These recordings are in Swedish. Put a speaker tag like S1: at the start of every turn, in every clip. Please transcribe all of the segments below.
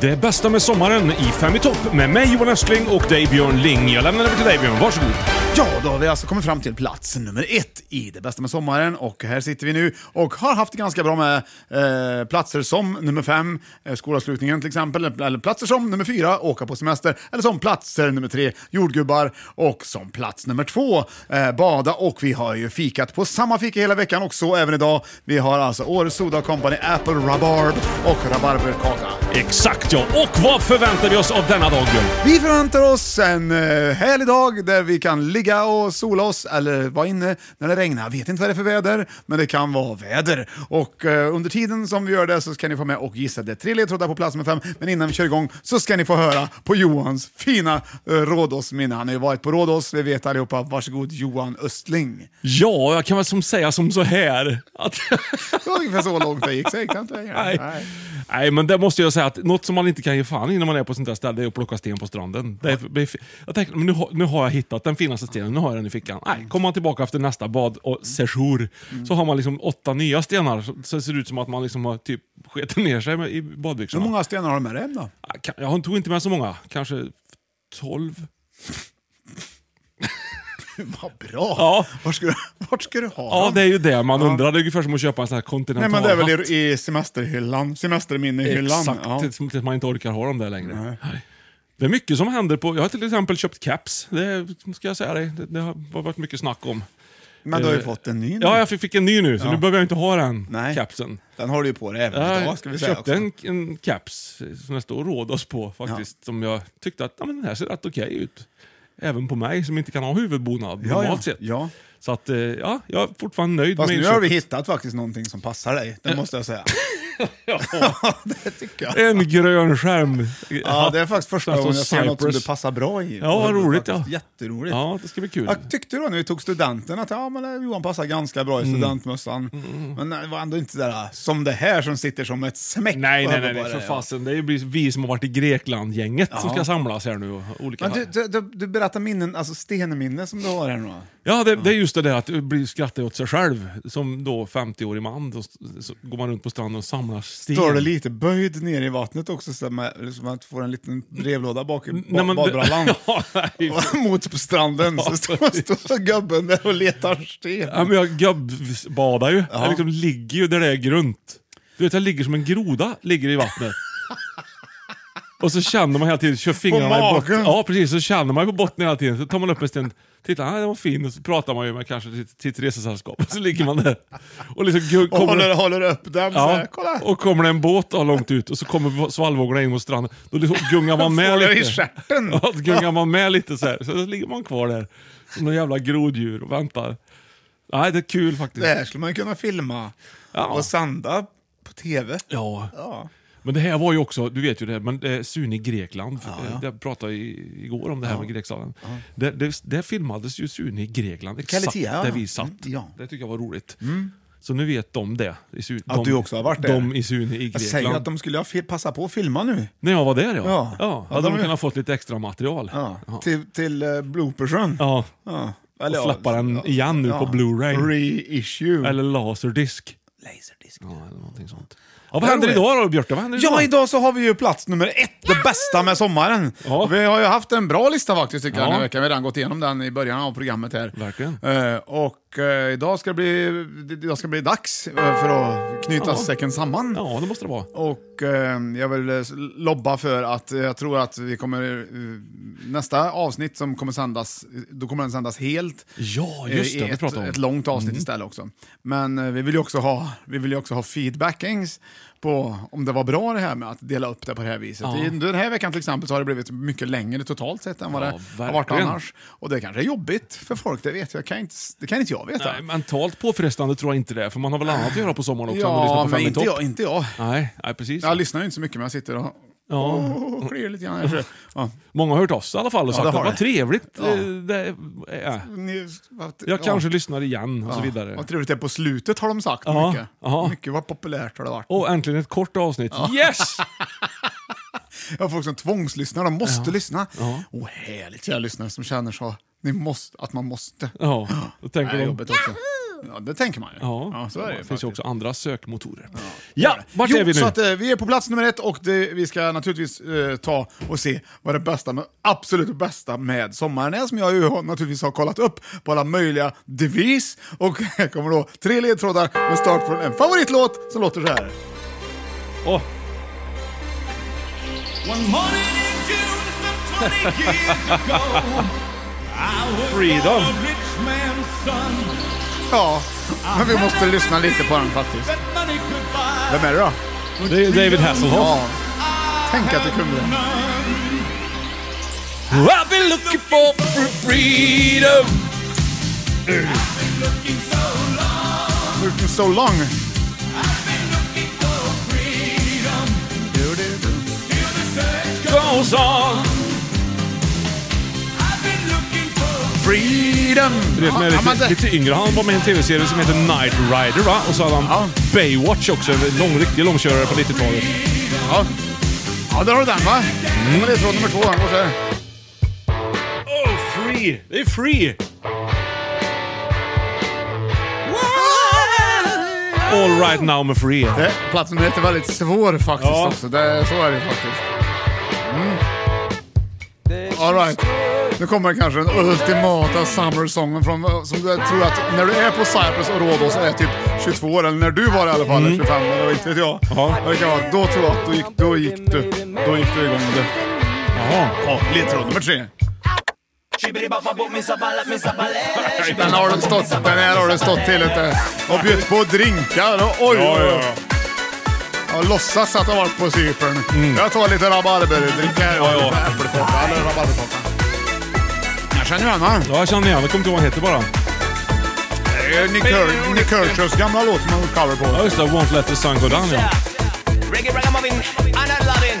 S1: Det bästa med sommaren i Fem i topp med mig Johan Östling och dig Björn Ling. Jag lämnar över till dig Björn, varsågod.
S2: Ja, då har vi alltså kommit fram till plats nummer ett i Det bästa med sommaren och här sitter vi nu och har haft ganska bra med eh, platser som nummer fem, eh, skolavslutningen till exempel, eller platser som nummer fyra, åka på semester, eller som platser nummer tre, jordgubbar, och som plats nummer två, eh, bada. Och vi har ju fikat på samma fika hela veckan och så även idag. Vi har alltså Åre Soda Company, Apple Rabarb och rabarberkaka.
S1: Exakt ja, och vad förväntar vi oss av denna dag Björn?
S2: Vi förväntar oss en eh, härlig dag där vi kan ligga och sola oss eller vara inne när det regnar. Vet inte vad det är för väder, men det kan vara väder. Och eh, under tiden som vi gör det så ska ni få med och gissa. Det är tre ledtrådar på plats med fem, men innan vi kör igång så ska ni få höra på Johans fina eh, Rhodos-minne. Han har ju varit på Rhodos, vi vet allihopa. Varsågod Johan Östling.
S1: Ja, jag kan väl som säga som så här att...
S2: Det var ungefär så långt det gick, så gick det inte längre.
S1: Nej. Nej, men det måste jag säga att något som man inte kan ge fan i när man är på sånt där ställe är att plocka sten på stranden. Det är, det är, jag tänkte, men nu, har- nu har jag hittat den finaste stenen, nu har jag den i fickan. Nej, kommer man tillbaka efter nästa bad och sejour så har man liksom åtta nya stenar. Så, så ser det ut som att man liksom har typ skitit ner sig med, i
S2: Hur
S1: badbyxorna.
S2: många stenar har du med dig hem då?
S1: Jag kan- Jag tog inte med så många, kanske 12.
S2: Vad bra!
S1: Ja.
S2: Vart ska du, vart ska du ha
S1: Ja,
S2: dem?
S1: det är ju det man undrar. Det är ungefär som att köpa en sån här
S2: Nej,
S1: kontinental
S2: men det är väl i, i semesterhyllan, semesterminnehyllan.
S1: Exakt,
S2: Ja.
S1: tills, tills man inte orkar ha dem där längre. Nej. Det är mycket som händer på... Jag har till exempel köpt caps. Det ska jag säga dig. Det, det har varit mycket snack
S2: Mm.
S1: om.
S2: Men du har ju fått en ny nu.
S1: Eh, Ja, jag fick fick en ny nu, så nu behöver jag inte ha den
S2: Nej.
S1: capsen.
S2: Den har du ju på dig även
S1: Jag
S2: idag ska vi säga
S1: köpte
S2: också.
S1: en, en caps som det står Rhodos på faktiskt, som jag tyckte att ja, men den här ser rätt okej ut. Även på mig som inte kan ha huvudbonad
S2: Ja,
S1: normalt
S2: ja.
S1: sett.
S2: ja.
S1: Så att, eh, ja, jag är fortfarande nöjd
S2: Fast
S1: med
S2: nu har vi
S1: inköpet.
S2: hittat faktiskt någonting som passar dig, det måste jag säga. det tycker jag.
S1: En grön skärm.
S2: Ja, det är faktiskt första
S1: Alltså
S2: gången jag ser något som
S1: Cyprus.
S2: du passar bra i.
S1: Ja, vad roligt,
S2: Faktiskt
S1: ja.
S2: Jätteroligt.
S1: Ja, det ska bli kul.
S2: Jag tyckte då när vi tog studenten att ja, men eh, Johan passar ganska bra i
S1: Mm.
S2: studentmössan. Men eh, det var ändå inte där som det här som sitter som ett smäck.
S1: Nej,
S2: på
S1: nej, nej,
S2: huvudet
S1: nej,
S2: bara,
S1: för
S2: ja.
S1: fasen. Det är ju vi som har varit i Grekland-gänget som ska samlas här nu. och Olika
S2: Men du, du, du, du berättar minnen, alltså stenminnen som du har här nu. va?
S1: Ja, det, det är just det där att bli skratta åt sig själv. Som då 50-årig man, då s- så går man runt på stranden och samlar sten.
S2: Står det lite böjd ner i vattnet också, så med, som att få en liten brevlåda bak i
S1: Nej,
S2: ba-
S1: men-
S2: badbrallan.
S1: Ja, nej.
S2: Och Mot på stranden så står står gubben där och letar
S1: Ja,
S2: sten.
S1: men jag gubb-badar ju. Jag liksom ligger ju där det är grunt. Du vet, jag ligger som en groda ligger i vattnet. Och så känner man hela tiden, kör fingrarna i botten.
S2: magen?
S1: Ja, precis. Så känner man ju på botten hela tiden. Så tar man upp en sten, tittar, ah, den var fin. Och så pratar man ju med kanske sitt, sitt resesällskap. Och så ligger man där. Och liksom gu-
S2: Och
S1: kommer...
S2: håller, håller upp den så
S1: Ja,
S2: här, kolla!
S1: och kommer det en båt ah, långt ut och så kommer svallvågorna in mot stranden, då liksom gungar man med
S2: Får det i
S1: lite.
S2: stjärten.
S1: Ja, då gungar man med lite så här. Så ligger man kvar där som några jävla groddjur och väntar. Nej, det är kul faktiskt.
S2: Det här skulle man ju kunna filma
S1: Ja.
S2: och sända på TV.
S1: Ja.
S2: Ja.
S1: Men det här var ju också, du vet ju det, men eh, Sune i Grekland, ja, jag pratade i, igår om det här med Grekstaden. Det, det, det filmades ju Sune i Grekland, exakt
S2: Kalitea, ja.
S1: där vi satt.
S2: Mm, ja. Mm.
S1: Det tycker jag var roligt. Så nu vet de det. I Su-
S2: Att
S1: de,
S2: du också har varit där.
S1: De i Sune i
S2: Jag säger att
S1: Grekland.
S2: de skulle ha fi- passat på att filma nu.
S1: När jag var där ja.
S2: Ja.
S1: Ja,
S2: Ja,
S1: hade
S2: de-
S1: de kunnat fått lite extra material.
S2: Ja.
S1: Ja.
S2: Till, till eh, bloopersen.
S1: Ja.
S2: Ja.
S1: Och släppa den igen nu på Blu-ray.
S2: Reissue.
S1: Eller laserdisk.
S2: Laserdisc.
S1: Ja, eller någonting sånt. Ja, vad
S2: Ja,
S1: händer
S2: roligt.
S1: idag då Björte? Vad händer
S2: Ja, idag så har vi ju plats nummer ett, det bästa med sommaren.
S1: Ja.
S2: Och Vi har ju haft en bra lista faktiskt tycker jag
S1: Ja.
S2: den här veckan. Vi har redan gått igenom den i början av programmet här.
S1: Verkligen.
S2: Eh, och eh, idag ska det bli, idag ska det bli dags eh, för att knyta
S1: Ja.
S2: säcken samman.
S1: Ja, det måste det vara.
S2: Och eh, jag vill eh, lobba för att eh, jag tror att vi kommer, eh, nästa avsnitt som kommer sändas, då kommer den sändas helt.
S1: Ja,
S2: eh,
S1: just
S2: i
S1: det, vi
S2: Ett,
S1: pratade om. Mm.
S2: ett långt avsnitt istället också. Men eh, vi vill ju också ha, vi vill ju också ha feedbackings på om det var bra det här med att dela upp det på det här viset.
S1: Ja.
S2: I, den här veckan till exempel så har det blivit mycket längre totalt sett än vad
S1: Ja,
S2: det har varit
S1: verkligen.
S2: annars. Och det kanske är jobbigt för folk, det vet jag. kan inte, det kan inte jag veta.
S1: Nej, mentalt påfrestande tror jag inte det är, för man har väl annat att göra på sommaren också än att lyssna
S2: ja,
S1: på
S2: men
S1: Fem i
S2: inte
S1: topp.
S2: jag, inte jag.
S1: Nej, nej, precis.
S2: Jag lyssnar ju inte så mycket men jag sitter och
S1: Ja.
S2: Åh, kliar lite grann. här. Ja.
S1: Många har hört oss i alla fall och
S2: Ja,
S1: sagt
S2: det
S1: att
S2: har
S1: vad
S2: det.
S1: trevligt.
S2: Ja.
S1: eh, Det, är.
S2: Ni- vad-
S1: Jag
S2: ja.
S1: kanske lyssnar igen och så
S2: Ja.
S1: vidare.
S2: Vad trevligt det är på slutet har de sagt
S1: Ja,
S2: mycket.
S1: ja.
S2: Mycket vad populärt har det varit.
S1: Och äntligen ett kort avsnitt. Yes!
S2: Jag har folk som tvångslyssnar, de måste lyssna.
S1: Ja.
S2: Åh, härligt kära lyssnare som känner så. Ni måste, att man måste.
S1: Ja, då tänker
S2: det är
S1: de-
S2: jobbigt också. Ja, det tänker man ju.
S1: Ja,
S2: så är det, ju
S1: finns ju
S2: faktiskt.
S1: också andra sökmotorer. Ja, vart är vi nu?
S2: Så att, eh, vi är på plats nummer ett och det, vi ska naturligtvis eh, ta och se vad det bästa, med, absolut bästa med sommaren är, som jag ju har- naturligtvis har kollat upp på alla möjliga devis. Och här kommer då tre ledtrådar med start från en favoritlåt som låter så här.
S1: Åh,
S3: One morning in June some 20 years ago, I was
S1: Freedom.
S3: born a rich man's son.
S2: Ja, men vi måste lyssna lite på den faktiskt.
S3: That money could buy.
S2: Vem är det då?
S1: det är David Hasselhoff.
S2: Ja, tänk att du kunde den.
S1: I've been looking for freedom!
S2: Looking so long.
S1: Goes on.
S2: Freedom!
S1: Du vet, när jag
S2: Ja,
S1: är
S2: men
S1: lite,
S2: det-
S1: lite yngre, han var med i en tv-serie som heter Night Rider va? Och så hade han
S2: Ja.
S1: Baywatch också, en lång, riktig långkörare på 90-talet.
S2: Ja. ja, där har du den va? Mm. Det är tråd nummer två. Han går så här.
S1: Oh, free! Det är free! All right now med free.
S2: Det, platsen nummer ett är väldigt svår faktiskt
S1: Ja.
S2: också. Det, så är det faktiskt. Mm. All right. Nu kommer kanske den ultimata summersången från, som jag tror att när du är på Cyprus och Rhodos och är typ 22 år, eller när du var i alla fall, 25 eller inte vet jag.
S1: Mm. Ja.
S2: Vad det kan vara, Då tror jag att då gick, då gick du, då gick du igång du.
S1: Jaha.
S2: Ja, ledtråd nummer tre. Den har du stått, den här har du stått till lite och bjudit på drinkar och oj,
S1: Ja,
S2: oj,
S1: ja,
S2: oj. Jag låtsas att jag varit på Cypern. Jag tar lite rabarberdrink här och
S1: Ja, ja.
S2: lite äppelkaka eller rabarberkaka. Jag känner igen honom.
S1: Ja, jag känner igen Jag kommer inte ihåg vad han heter bara.
S2: Det är Nick Her- Nick Kershaw's gamla låt som han gjort cover
S1: Ja,
S2: på.
S1: just det. Won't let the sun go down ja.
S4: Reggae ragamuffin, and I loving.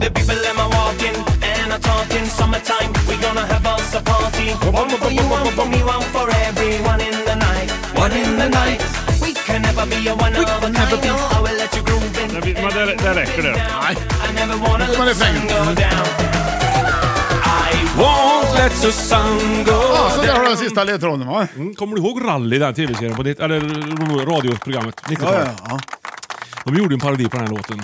S4: The people am a walking and a talking. Summertime, we gonna have us a party. One for you, one for me, one for everyone in the night. One in the night. We can never be a one of a kind.
S2: never be-
S4: No, I will let you groove in.
S1: blir- men det- det räcker det.
S4: Nej. I never wanna
S2: Men
S4: let
S2: det
S4: the sun
S2: räcker.
S4: go down. I won't let the sun go
S2: Ja, så där har du den sista ledtråden va?
S1: Mm, Kommer du ihåg Rally, den tv-serien? På ditt, eller radioprogrammet? 90-talet.
S2: ja.
S1: De gjorde en parodi på den här låten.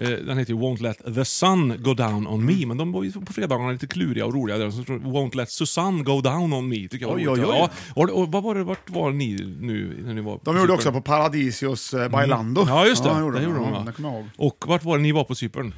S1: Eh, Den heter ju Won't Let The Sun Go Down On
S2: Mm.
S1: Me. Men de var ju på fredagarna lite kluriga och roliga. Där. Så tror jag, Won't Let Susanne Go Down On Me. Tycker jag var
S2: Oj,
S1: roligt.
S2: oj, oj.
S1: Ja. Och, och, vad var det, vart var ni nu? När ni var
S2: De gjorde också på Paradisios eh, Bailando.
S1: Ja, just det.
S2: Ja,
S1: det gjorde de,
S2: Ja,
S1: va?
S2: det kommer jag ihåg.
S1: Och vart var det ni var på Cypern?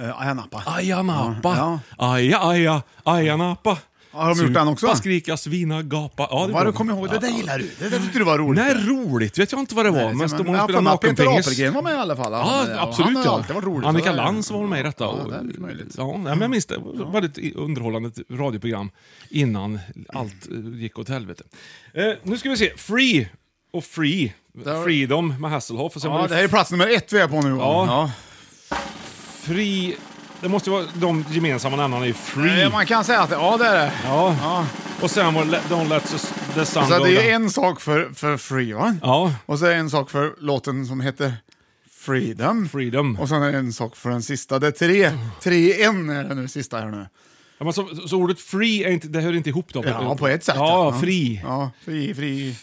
S2: Eh, Ayia Napa.
S1: Aja Napa!
S2: Ja.
S1: Aja, aja, aja Napa!
S2: Ja, har de gjort den också?
S1: Supa, skrika, svina, gapa. Ja,
S2: Vad du
S1: de.
S2: kommer ihåg? Det där
S1: Ja.
S2: gillar du. Det där tyckte du var roligt.
S1: Nej, roligt vet jag inte vad det var,
S2: Nej,
S1: men
S2: men-
S1: de
S2: ja,
S1: spelade
S2: fan, Peter
S1: nakenpingis.
S2: Apelgren var med i alla fall.
S1: Ja,
S2: Han-
S1: absolut.
S2: Han har
S1: ja.
S2: alltid varit rolig.
S1: Annika
S2: Så det-
S1: Lantz var väl med i detta.
S2: Ja,
S1: och-
S2: det är mycket möjligt.
S1: Ja, nej, men jag minns det. Det var Väldigt i- underhållande radioprogram innan allt eh, gick åt helvete. Eh, nu ska vi se. Free och Free.
S2: har-
S1: Freedom med Hasselhoff. Och sen
S2: Ja,
S1: var
S2: det
S1: det
S2: här är plats nummer ett vi är på nu.
S1: Ja. Free... Det måste ju vara de gemensamma nämnarna i Free.
S2: Eh, Man kan säga att det- ja, det är det.
S1: Ja.
S2: Ja.
S1: Och sen var det Let- Don't Let Sus- The Sun
S2: Så det är ju
S1: Goes
S2: en sak för, för Free va?
S1: Ja.
S2: Och så är det en sak för låten som heter Freedom.
S1: Freedom.
S2: Och sen är det en sak för den sista. Det är tre, tre i en är det nu sista här nu.
S1: Ja, men så, så ordet free, är inte, det hör inte ihop då?
S2: Ja, på ett sätt.
S1: Ja, fri.
S2: Ja, fri, fri.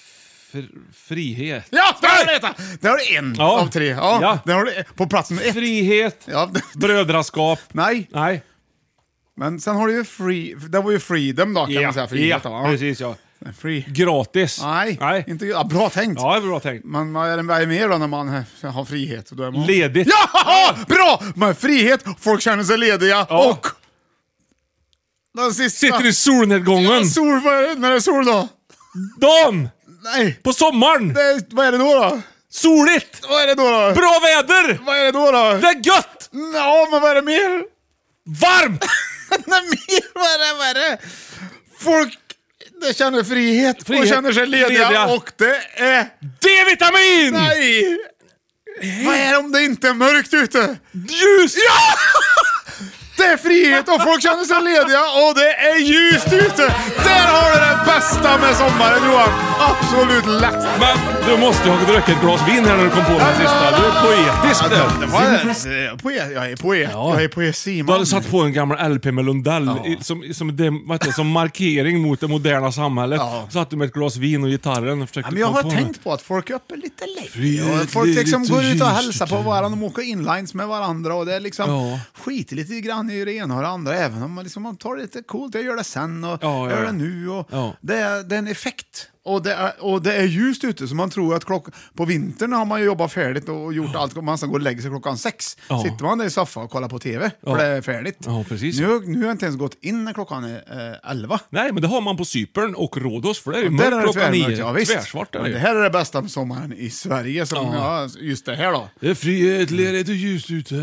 S1: Fr, frihet.
S2: Ja, där har du detta! Där har du en
S1: Ja.
S2: av tre. Ja,
S1: Ja.
S2: Där har du på plats nummer ett.
S1: Frihet,
S2: Ja,
S1: brödraskap.
S2: nej,
S1: Nej.
S2: men sen har du ju free, det var ju freedom då kan man säga. Frihet,
S1: ja,
S2: va?
S1: precis ja.
S2: Free.
S1: Gratis.
S2: Nej,
S1: Nej.
S2: Inte, ja, bra tänkt.
S1: Ja, det är bra tänkt.
S2: Men vad är det vad är det mer då när man eh, har frihet? Då är man...
S1: Ledigt.
S2: Ja! Bra! Men frihet, folk känner sig lediga
S1: Ja.
S2: och... Den sista...
S1: Sitter i solnedgången.
S2: Sol, vad är det? När det är sol då?
S1: Dan!
S2: Nej!
S1: På sommaren!
S2: Det är, vad är det då då?
S1: Soligt!
S2: Vad är det då då?
S1: Bra väder!
S2: Vad är det då då?
S1: Det är gött!
S2: Ja, men vad är det mer?
S1: Varmt!
S2: Nej, mer? Vad är det? Vad är det? Folk det känner frihet, och
S1: Frihet,
S2: känner sig lediga,
S1: lediga.
S2: och det är...
S1: D-vitamin!
S2: Nej! Vad är det om det inte är mörkt ute?
S1: Ljus!
S2: Ja! Det är frihet och folk känner sig lediga och det är ljust ute. Där har du det bästa med sommaren Johan. Absolut lätt.
S1: Men du måste ju ha druckit ett glas vin här när du kom på den sista. Du är poetisk
S2: Det
S1: du.
S2: var- eh, poe- Jag är poet.
S1: Ja.
S2: Jag är e-
S1: Du
S2: poesiman.
S1: hade satt på en gammal LP med Lundell i, som, som, dem- vad heter det, som markering mot det moderna samhället.
S2: Ja.
S1: Satt du med ett glas vin och gitarren och försökte
S2: Ja, men jag
S1: komma
S2: har
S1: på
S2: tänkt på att folk är uppe lite längre.
S1: Frihet,
S2: Och Folk liksom
S1: ledigt och
S2: går ut och
S1: ljust
S2: hälsar på
S1: ute.
S2: varandra, de åker inlines med varandra och det är liksom
S1: Ja.
S2: skiter lite grann i det ena och det andra. Även om man, liksom, man tar det lite coolt, jag gör det sen och
S1: Ja, ja,
S2: jag gör
S1: ja.
S2: det nu. Och
S1: Ja.
S2: det, är, det är en effekt. Och det, är, och det är ljust ute, så man tror att klock, på vintern har man ju jobbat färdigt och gjort allt. och Man ska gå och lägga sig klockan sex.
S1: Ja.
S2: Sitter man där i soffan och kollar på TV,
S1: Ja.
S2: för det är färdigt.
S1: Ja, precis.
S2: Nu, nu har jag inte ens gått in när klockan är eh, elva.
S1: Nej, men det har man på Cypern och Rhodos, för det är ju
S2: Och Där
S1: mörkt
S2: är det
S1: klockan
S2: tvärmörkt,
S1: nio.
S2: ja visst.
S1: Tvärsvart är det
S2: Men
S1: ju.
S2: det här är det bästa med sommaren i Sverige. Som, ja. just det här då.
S1: Det är frihet, ledigt och ljust ute.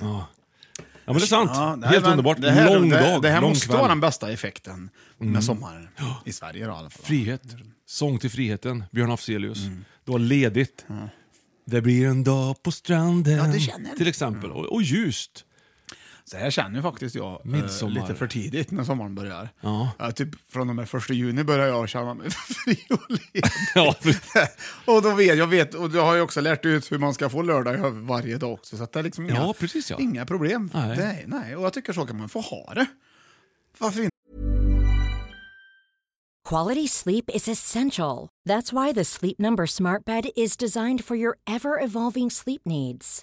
S1: Ja. ja, men det är sant.
S2: Mm. Ja, det här-
S1: Helt
S2: men
S1: underbart.
S2: Det här,
S1: lång
S2: det,
S1: dag,
S2: Det här
S1: lång
S2: måste
S1: kväll. Mm.
S2: vara den bästa effekten med sommaren. I Sverige då i alla fall.
S1: Frihet. Sång till friheten, Björn Afzelius.
S2: Mm.
S1: Du har ledigt. Det blir en dag på stranden.
S2: Ja, det känner jag. Mm.
S1: Till exempel. Och, och ljust.
S2: Så här känner ju faktiskt jag eh,
S1: Midsommar.
S2: lite för tidigt när sommaren börjar.
S1: Ja.
S2: Ja, typ från och med första juni börjar jag känna mig fri och ledig.
S1: Ja,
S2: och då vet jag, vet, och jag har ju också lärt ut hur man ska få lördag i huvudet varje dag också. Så att det är liksom inga,
S1: Ja, precis, ja.
S2: inga problem.
S1: Nej.
S2: Nej, nej. Och jag tycker så kan man få ha det. Varför inte?
S5: Quality sleep is essential. That's why the Sleep Number Smart Bed is designed for your ever evolving sleep needs.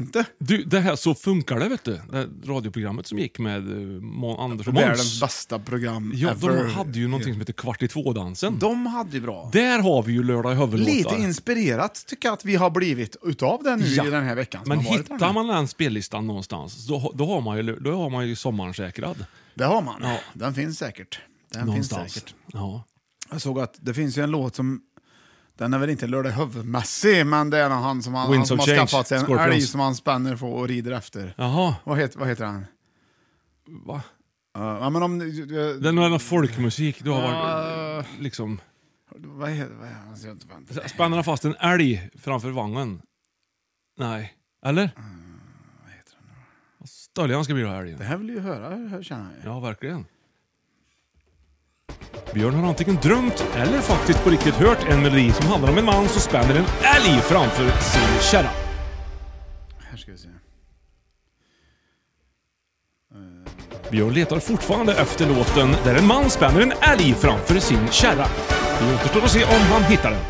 S2: inte?
S1: Du, det här Så funkar det, vet du. Det här radioprogrammet som gick med eh, Må- Anders och
S2: Världens
S1: Måns.
S2: bästa program
S1: Ja,
S2: ever.
S1: de hade ju någonting som heter Kvart i två-dansen.
S2: De hade ju bra.
S1: Där har vi ju Lördag i
S2: Lite
S1: huvudlåtar.
S2: inspirerat tycker jag att vi har blivit utav det nu
S1: Ja.
S2: i den här veckan. som
S1: Men
S2: har varit här
S1: hittar
S2: nu.
S1: man den spellistan någonstans, då, då, har man ju, då har man ju sommaren säkrad.
S2: Det har man.
S1: Ja.
S2: Den finns säkert. Den
S1: Någonstans.
S2: finns säkert.
S1: Ja.
S2: Jag såg att det finns ju en låt som den är väl inte lördag huvudmässig, men det är nog han som, han,
S1: Winds
S2: han som
S1: of
S2: har
S1: Change,
S2: skaffat sig en
S1: Scorpions.
S2: älg som han spänner på och rider efter.
S1: Jaha,
S2: Vad, heter, vad heter han? Uh,
S1: va?
S2: ja, men om, uh,
S1: Det är någon folkmusik du har varit, liksom...
S2: vad heter vad heter- alltså, jag vet inte.
S1: Spänner han fast en
S2: Mm,
S1: älg framför vagnen? Nej. Eller? Vad heter den Döljan ska bli då här igen.
S2: Det här vill ju höra, hör- känner jag.
S1: Ja, verkligen. Björn har antingen drömt eller faktiskt på riktigt hört en melodi som handlar om en man som spänner en älg framför sin kärra.
S2: Här ska vi se.
S1: Björn letar fortfarande efter låten där en man spänner en älg framför sin kärra. Det återstår att se om han hittar den.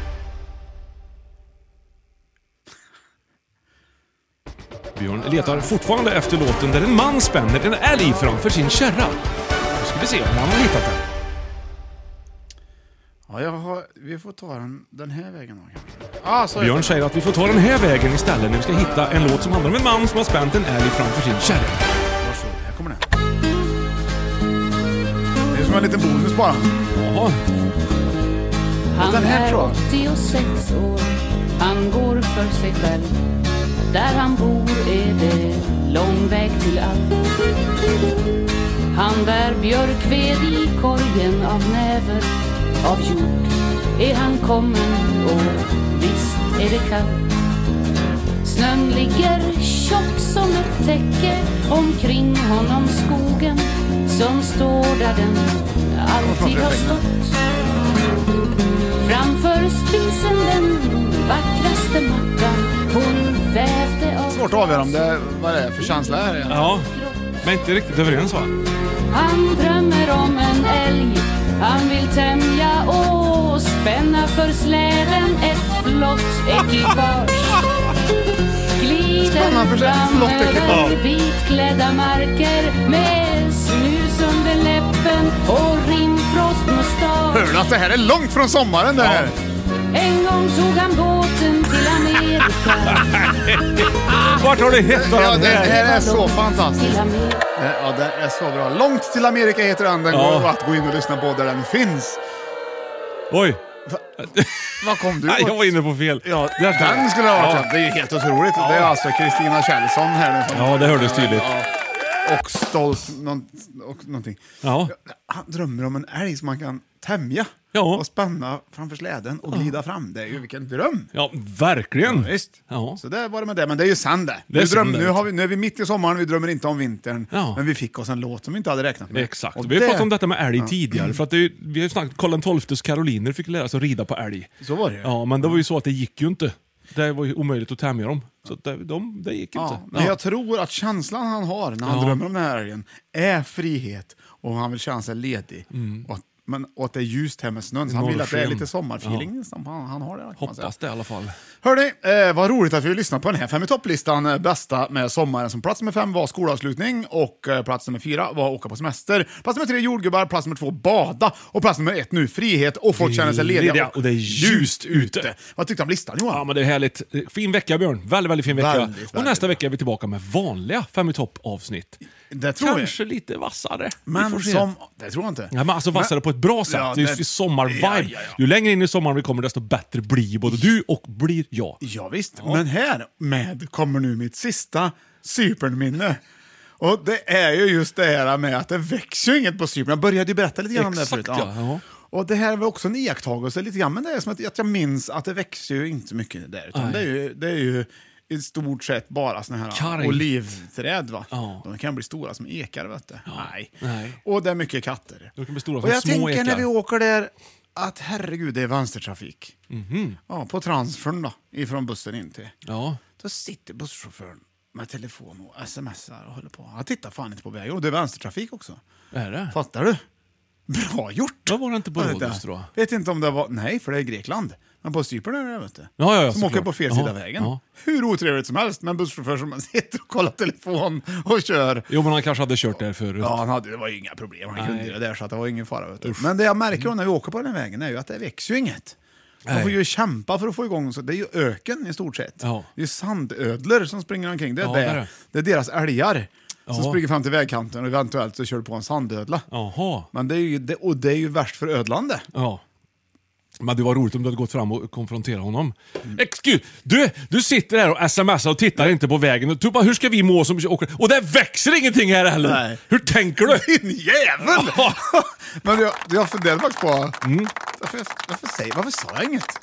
S1: Björn letar fortfarande efter låten där en man spänner en älg framför sin kärra. Nu ska vi se om han har hittat den.
S2: Ja, jag har, vi får ta den, den här vägen då kanske. Ah, så
S1: Björn säger att vi får ta den här vägen istället när vi ska hitta en låt som handlar om en man som har spänt en älg framför sin kärra.
S2: Varsågod, här kommer den. Det är som en liten bonus bara.
S1: Jaha,
S2: Och den här tror jag.
S6: 86 år, han går för sig själv. Där han bor är det lång väg till allt. Han bär björkved i korgen av näver av jord. Är han kommen och visst är det kallt. Snön ligger tjock som ett täcke omkring honom skogen som står där den alltid har stått. Framför spisen den vackraste mackan hon vävde av
S2: Svårt att avgöra om det, vad det är för känsla här egentligen.
S1: ja. Men inte riktigt överens va?
S6: Han drömmer om en älg Han vill tämja och spänna för släden ett flott ekipage
S2: Spänna
S6: Glider
S2: för sig ett
S6: fram
S2: flott ekipage.
S6: över vitklädda marker med snus under läppen och rimfrostmustasch
S2: Hör du att det här är långt från sommaren det här?
S6: En gång tog han båten till Amerika
S1: Vart har du hittat
S2: Ja,
S1: den
S2: det
S1: här?
S2: här är så fantastiskt.
S6: till Amerika
S2: Det- Ja, det är så bra. Långt till Amerika heter den. Den
S1: Ja.
S2: går att gå in och lyssna på där den finns.
S1: Oj!
S2: Vad kom du
S1: Nej,
S2: åt?
S1: jag var inne på fel.
S2: Ja,
S1: Där ska
S2: den
S1: jag.
S2: skulle det ha varit.
S1: Ja.
S2: ja. Det är ju helt otroligt. Det är alltså Kristina Kjellson här. nu som-
S1: Ja, det hördes tydligt.
S2: Ja. Och stolt någon, och någonting.
S1: Ja.
S2: Han drömmer om en älg som man kan tämja
S1: Ja.
S2: och spänna framför släden och glida fram. Det är ju vilken dröm!
S1: Ja, verkligen.
S2: Visst.
S1: Mm. Ja.
S2: Så det var det med det, men det är ju sant det.
S1: Det är
S2: Nu, dröm,
S1: sant det.
S2: nu, har vi, nu är vi mitt i sommaren, vi drömmer inte om vintern.
S1: Ja.
S2: Men vi fick oss en låt som vi inte hade räknat med.
S1: Exakt.
S2: Och
S1: vi har
S2: det-
S1: pratat om detta med älg tidigare. För att det är, ju- vi har ju snackat Karl XIIs karoliner fick lära sig att rida på älg.
S2: Så var det ju.
S1: Ja, men det var ju så att det gick ju inte. Det var ju omöjligt att tämja dem. Så att det, de, det gick inte.
S2: Ja, men jag tror att känslan han har när han
S1: Ja.
S2: drömmer om den här älgen är frihet och han vill känna sig ledig.
S1: Mm.
S2: Och, att, men, och att det är ljust här med snön, så han vill att det är
S1: Norrsken.
S2: lite sommarfeeling nästan. Han, han har det. kan man säga.
S1: Hoppas det i alla fall.
S2: Hörni, eh, vad roligt att vi lyssnar på den här fem i topplistan. Eh, Bästa med sommaren. Som plats nummer fem var skolavslutning och eh, plats nummer fyra var åka på semester. Plats nummer tre jordgubbar, plats nummer två bada och plats nummer ett nu frihet och folk känner sig lediga.
S1: Lediga, och det är ljust ute.
S2: Vad tyckte du om listan Johan?
S1: Ja, men det är härligt. Fin vecka Björn. Väldigt, väldigt fin vecka.
S2: Väldigt, väldigt
S1: och nästa
S2: bra.
S1: vecka är vi tillbaka med vanliga Fem i topp-avsnitt.
S2: det tror jag.
S1: Kanske lite vassare. Vi får
S2: Men
S1: se.
S2: som... Det tror jag inte.
S1: Ja, men alltså vassare
S2: Men-
S1: på ett bra sätt.
S2: Ja,
S1: det är
S2: det-
S1: ju sommarvibe.
S2: Ja, ja, ja.
S1: Ju längre in i sommaren vi kommer desto bättre blir ju både du och blir jag.
S2: Ja, visst. men här med kommer nu mitt sista Cypernminne. Och det är ju just det här med att det växer ju inget på Cypern. Jag började ju berätta lite grann om det
S1: Exakt,
S2: förut.
S1: ja. Ja.
S2: Och det här var också en iakttagelse lite grann, men det är som att, att jag minns att det växer ju inte så mycket där. Utan det, är ju, det är ju i stort sett bara såna här
S1: Karg.
S2: olivträd. Va?
S1: Ja.
S2: De kan bli stora som ekar, vet du. Nej.
S1: Nej.
S2: Och det är mycket katter.
S1: De kan bli stora
S2: och
S1: som
S2: jag
S1: små
S2: tänker när
S1: ekar.
S2: vi åker där att herregud, det är vänstertrafik.
S1: Mhm.
S2: Ja, på transfern då, ifrån bussen in till.
S1: Ja.
S2: Då sitter busschauffören med telefon och smsar och håller på. Han tittar fan inte på vägen. Och det är vänstertrafik också.
S1: Är det?
S2: Fattar du? Bra gjort!
S1: Då var det inte på
S2: Jag vet
S1: Rhodos,
S2: inte.
S1: tror jag.
S2: Vet inte om det var... Nej, för det är Grekland. Men på Cypern är det det, vet du.
S1: ja, ja,
S2: som
S1: såklart.
S2: åker på fel sida
S1: Ja,
S2: av vägen.
S1: ja.
S2: Hur otrevligt som helst med en busschaufför som sitter och kollar telefon och kör.
S1: Jo, men han kanske hade kört där förut.
S2: Ja, han hade, det var ju inga problem. Han kunde
S1: Nej.
S2: det där, så att det var ingen fara. Vet du. Men det jag märker då när vi åker på den här vägen är ju att det växer ju inget. Man
S1: Nej.
S2: får ju kämpa för att få igång, så det är ju öken i stort sett.
S1: Ja.
S2: Det är ju sandödlor som springer omkring. Det är,
S1: Ja,
S2: det.
S1: det är
S2: Det.
S1: det.
S2: är deras älgar som
S1: Ja.
S2: springer fram till vägkanten och eventuellt så kör du på en sandödla.
S1: Jaha.
S2: Men det är ju, det, och det är ju värst för ödlande.
S1: Ja. Men det var roligt om du hade gått fram och konfronterat honom.
S2: Mm.
S1: Excuse, du, du sitter här och smsar och tittar inte på vägen. Och du bara, hur ska vi må som åker? Och det växer ingenting här heller!
S2: Nej.
S1: Hur tänker du?
S2: Din jävel! Men jag, jag funderar faktiskt på...
S1: Mm.
S2: Varför, varför, säger, varför sa jag inget?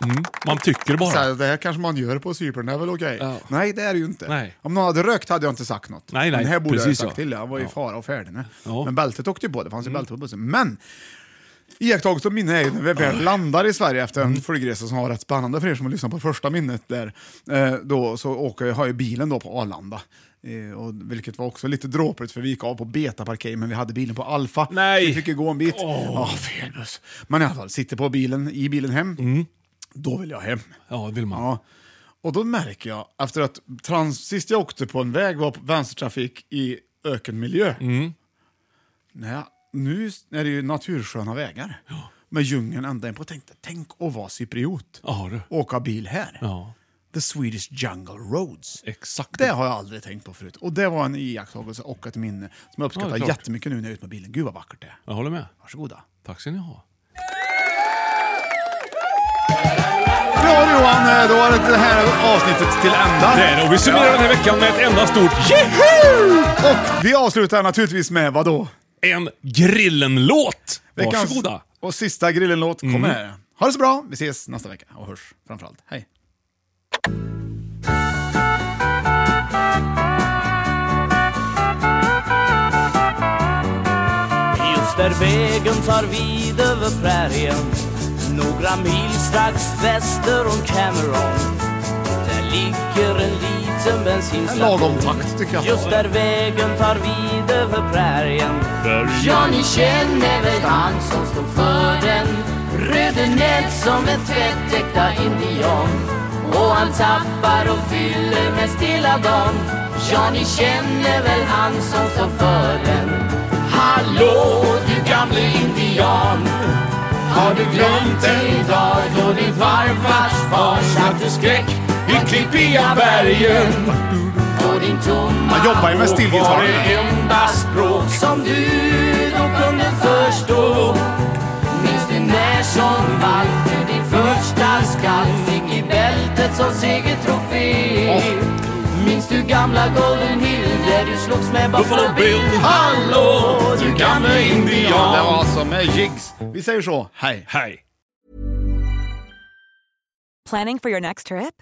S1: Man tycker
S2: Så här,
S1: bara.
S2: det här kanske man gör på Cypern, det är väl okej?
S1: Ja.
S2: Nej, det är det ju inte.
S1: Nej.
S2: Om någon hade rökt hade jag inte sagt något.
S1: Nej, nej,
S2: Men det här borde jag ha
S1: precis
S2: sagt
S1: så.
S2: till. Jag var i
S1: Ja.
S2: fara och färdig. nu.
S1: Ja. Mm.
S2: Men bältet åkte ju på, det fanns ju bälte på bussen. Men iakttagelse och minne är ju när vi väl landar i Sverige efter en
S1: Mm.
S2: flygresa som var rätt spännande för er som har lyssnat på första minnet där. Eh, då så åker, har ju bilen då på Arlanda. Eh, och, vilket var också lite dråpligt för vi gick av på betaparkering men vi hade bilen på Alfa.
S1: Nej.
S2: Så Vi fick ju gå en bit. Ja, fel buss. Men i alla fall, sitter på bilen, i bilen hem.
S1: Mm.
S2: Då vill jag hem.
S1: Ja, det vill man.
S2: Ja. Och då märker jag, efter att trans, sist jag åkte på en väg var på vänstertrafik i ökenmiljö.
S1: Mm.
S2: Nej, nu är det ju natursköna vägar. Med djungeln ända in på. Tänkte, tänk att vara cypriot.
S1: Ja, du.
S2: Åka bil här.
S1: Ja,
S2: The Swedish Jungle Roads.
S1: exakt.
S2: Det har jag aldrig tänkt på förut. Och det var en iakttagelse och ett minne som jag
S1: Ja,
S2: uppskattar
S1: det är klart.
S2: jättemycket nu när jag är ute med bilen. Gud vad vackert det är.
S1: Jag håller med.
S2: Varsågoda.
S1: Tack ska ni ha.
S2: Ja Johan, eh, då var det det här avsnittet till ända.
S1: Det är det. Och vi summerar den här veckan med ett enda stort yeah!
S2: Och vi avslutar naturligtvis med vad då?
S1: En Grillen-låt!
S2: Veckans-
S1: Varsågoda.
S2: Och sista Grillen-låt kommer här. Ha det så bra, vi ses nästa vecka och hörs framförallt. Hej!
S4: Just där vägen tar vid över prärien Några mil strax väster om Cameron Där ligger en liten
S2: En
S4: bensinstation
S2: lagom takt tycker jag.
S4: Just där vägen tar vid över prärien
S6: Ja, ni känner väl han som stod för den Röde nät som en tvättäkta indian Och han tappar och fyller med stilla dagen Ja, ni känner väl han som stod för den Hallå, du gamle indian Har du glömt en dag då din farfars far satte skräck i klippiga bergen På din tomma
S2: Man jobbar ju med stillgitarr.
S6: det enda språk som du då kunde förstå Minns du när som Walter din första skall fick i bältet som segertrofé? Minns du gamla Golden Hill där du slogs med Buffalo Bill? Hallå, du gamle indian!
S2: Det var som med jigs. Vi säger så, hej!
S1: Hej!
S7: Planning for your next trip?